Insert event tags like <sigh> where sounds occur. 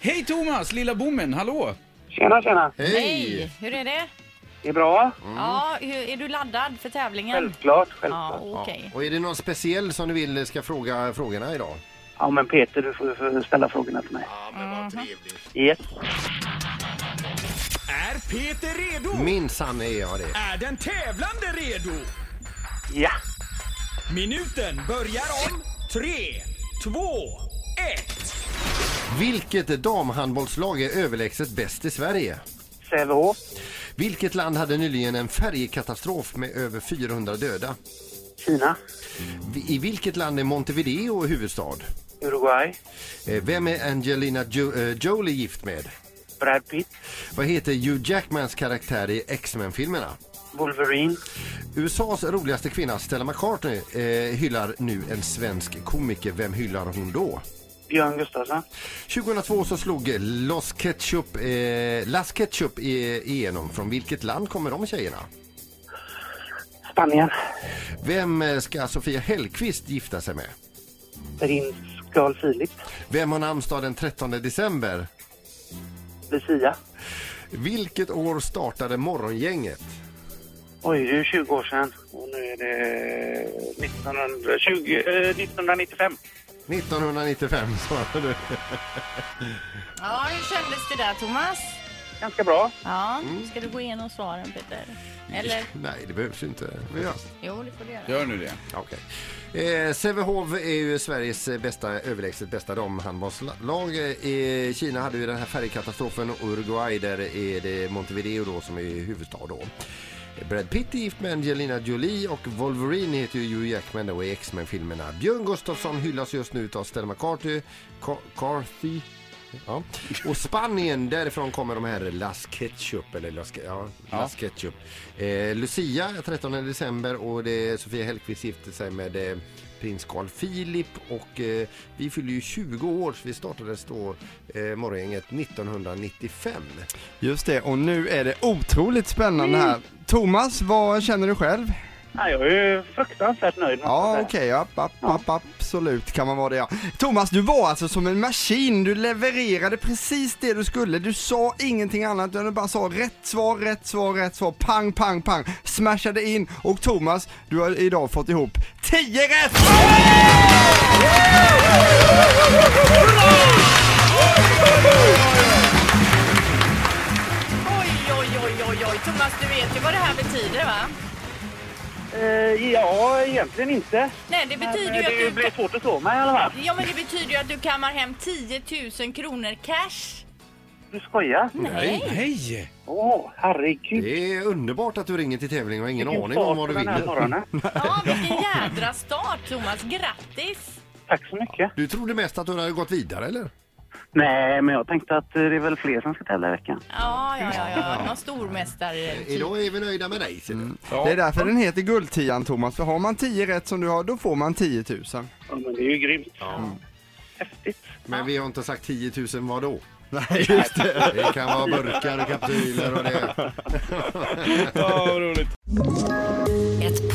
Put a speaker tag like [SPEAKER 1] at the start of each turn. [SPEAKER 1] Hej Thomas, lilla bommen, hallå!
[SPEAKER 2] Tjena, tjena.
[SPEAKER 3] Hej! Mm. Hur är det?
[SPEAKER 2] Det är bra.
[SPEAKER 3] Ja, hur, är du laddad för tävlingen?
[SPEAKER 2] Självklart,
[SPEAKER 3] Ja,
[SPEAKER 2] självklart. Ja.
[SPEAKER 3] okej.
[SPEAKER 4] Mm. Ja. Och är det någon speciell som du vill ska fråga frågorna idag?
[SPEAKER 2] men Peter, du får, får ställa frågorna till mig.
[SPEAKER 4] Ja, men vad trevligt.
[SPEAKER 2] Yes.
[SPEAKER 5] Är Peter redo?
[SPEAKER 4] Minsann är jag det.
[SPEAKER 5] Är den tävlande redo?
[SPEAKER 2] Ja.
[SPEAKER 5] Minuten börjar om tre, två, ett.
[SPEAKER 4] Vilket damhandbollslag är överlägset bäst i Sverige?
[SPEAKER 2] Sävehof,
[SPEAKER 4] Vilket land hade nyligen en färjekatastrof med över 400 döda?
[SPEAKER 2] Kina,
[SPEAKER 4] Vi- I vilket land är Montevideo huvudstad?
[SPEAKER 2] Uruguay,
[SPEAKER 4] Eh, Vem är Angelina jo eh, Jolie gift med?
[SPEAKER 2] Brad Pitt,
[SPEAKER 4] Vad heter Hugh Jackmans karaktär i X-Men-filmerna?
[SPEAKER 2] Wolverine,
[SPEAKER 4] USAs roligaste kvinna Stella McCartney eh, hyllar nu en svensk komiker. Vem hyllar hon då?
[SPEAKER 2] Björn Gustafsson,
[SPEAKER 4] 2002 så slog Los Ketchup, eh, Las Ketchup i- igenom. Från vilket land kommer de tjejerna?
[SPEAKER 2] Spanien,
[SPEAKER 4] Vem eh, ska Sofia Hellqvist gifta sig med?
[SPEAKER 2] Prins Carl Philip,
[SPEAKER 4] Vem har namnsdag den 13 december?
[SPEAKER 2] Lucia.
[SPEAKER 4] Vilket år startade Morgongänget?
[SPEAKER 2] Oj, det är 20 år sedan. Och nu är det 1920, eh, 1995.
[SPEAKER 4] 1995 svarade du.
[SPEAKER 3] Ja, hur kändes det där Thomas?
[SPEAKER 2] Ganska bra.
[SPEAKER 3] Ja, ska du gå igenom svaren Peter? Eller?
[SPEAKER 4] Nej, det behövs inte. Men ja.
[SPEAKER 3] Jo, det får du göra.
[SPEAKER 1] Gör nu det.
[SPEAKER 4] Ja, Okej. Eh, Sävehof är ju Sveriges bästa, överlägset bästa damhandbollslag. Eh, Kina hade ju den här färgkatastrofen och Uruguay där är det Montevideo då som är huvudstad då. Eh, Brad Pitt är gift med Angelina Jolie och Wolverine heter ju Hugh Jackman då i X-Men-filmerna. Björn Gustafsson hyllas just nu av Stella McCarthy, Car- Carthy Ja. Och Spanien, därifrån kommer de här Las Ketchup, eller Las, ja, Las Ketchup. Eh, Lucia, 13 december och det är Sofia Hellqvist gifte sig med eh, prins Carl Philip och eh, vi fyller ju 20 år så vi startades då eh, Morgongänget 1995.
[SPEAKER 6] Just det, och nu är det otroligt spännande här. Thomas, vad känner du själv?
[SPEAKER 2] Ja, jag är ju fruktansvärt nöjd. måste jag
[SPEAKER 6] Ja,
[SPEAKER 2] säga.
[SPEAKER 6] okej, ja, app, app, app, absolut kan man vara det ja. Thomas, du var alltså som en maskin, du levererade precis det du skulle, du sa ingenting annat utan du bara sa rätt svar, rätt svar, rätt svar, pang, pang, pang, smashade in och Thomas, du har idag fått ihop 10 rätt!
[SPEAKER 3] Oj, oj, oj, oj, oj. Thomas, du vet ju vad det här betyder va?
[SPEAKER 2] Eh, ja, egentligen inte.
[SPEAKER 3] Nej, det
[SPEAKER 2] Men,
[SPEAKER 3] betyder
[SPEAKER 2] eh,
[SPEAKER 3] ju
[SPEAKER 2] det
[SPEAKER 3] att du...
[SPEAKER 2] blir svårt att slå mig i alla fall.
[SPEAKER 3] Ja, men det betyder ju att du kammar hem 10 000 kronor <laughs> cash.
[SPEAKER 2] Du skojar?
[SPEAKER 4] Mm. Nej.
[SPEAKER 1] Hej!
[SPEAKER 2] Åh, herregud.
[SPEAKER 4] Det är underbart att du ringer till tävlingen och har ingen
[SPEAKER 2] Vilken
[SPEAKER 4] aning om vad
[SPEAKER 2] fart
[SPEAKER 4] du
[SPEAKER 2] den här
[SPEAKER 4] vinner. <laughs>
[SPEAKER 2] morgonen.
[SPEAKER 3] Ja, vilken jädra start Thomas. Grattis!
[SPEAKER 2] Tack så mycket.
[SPEAKER 4] Du trodde mest att du hade gått vidare eller?
[SPEAKER 2] Nej, men jag tänkte att eh, det är väl fler som ska tävla i veckan.
[SPEAKER 3] Ja, ja, ja, ja. Någon stormästare.
[SPEAKER 4] Idag är vi nöjda med dig. ser du.
[SPEAKER 6] Det är därför den heter guldtian Thomas, för har man 10 rätt som du har, då får man 10 000.
[SPEAKER 2] Ja, men det är ju grymt. Häftigt.
[SPEAKER 4] Men vi har inte sagt 10 000 vad då?
[SPEAKER 6] Nej, just det.
[SPEAKER 4] Det kan vara burkar och kapsyler och det.
[SPEAKER 1] Ja, vad roligt.
[SPEAKER 7] Ett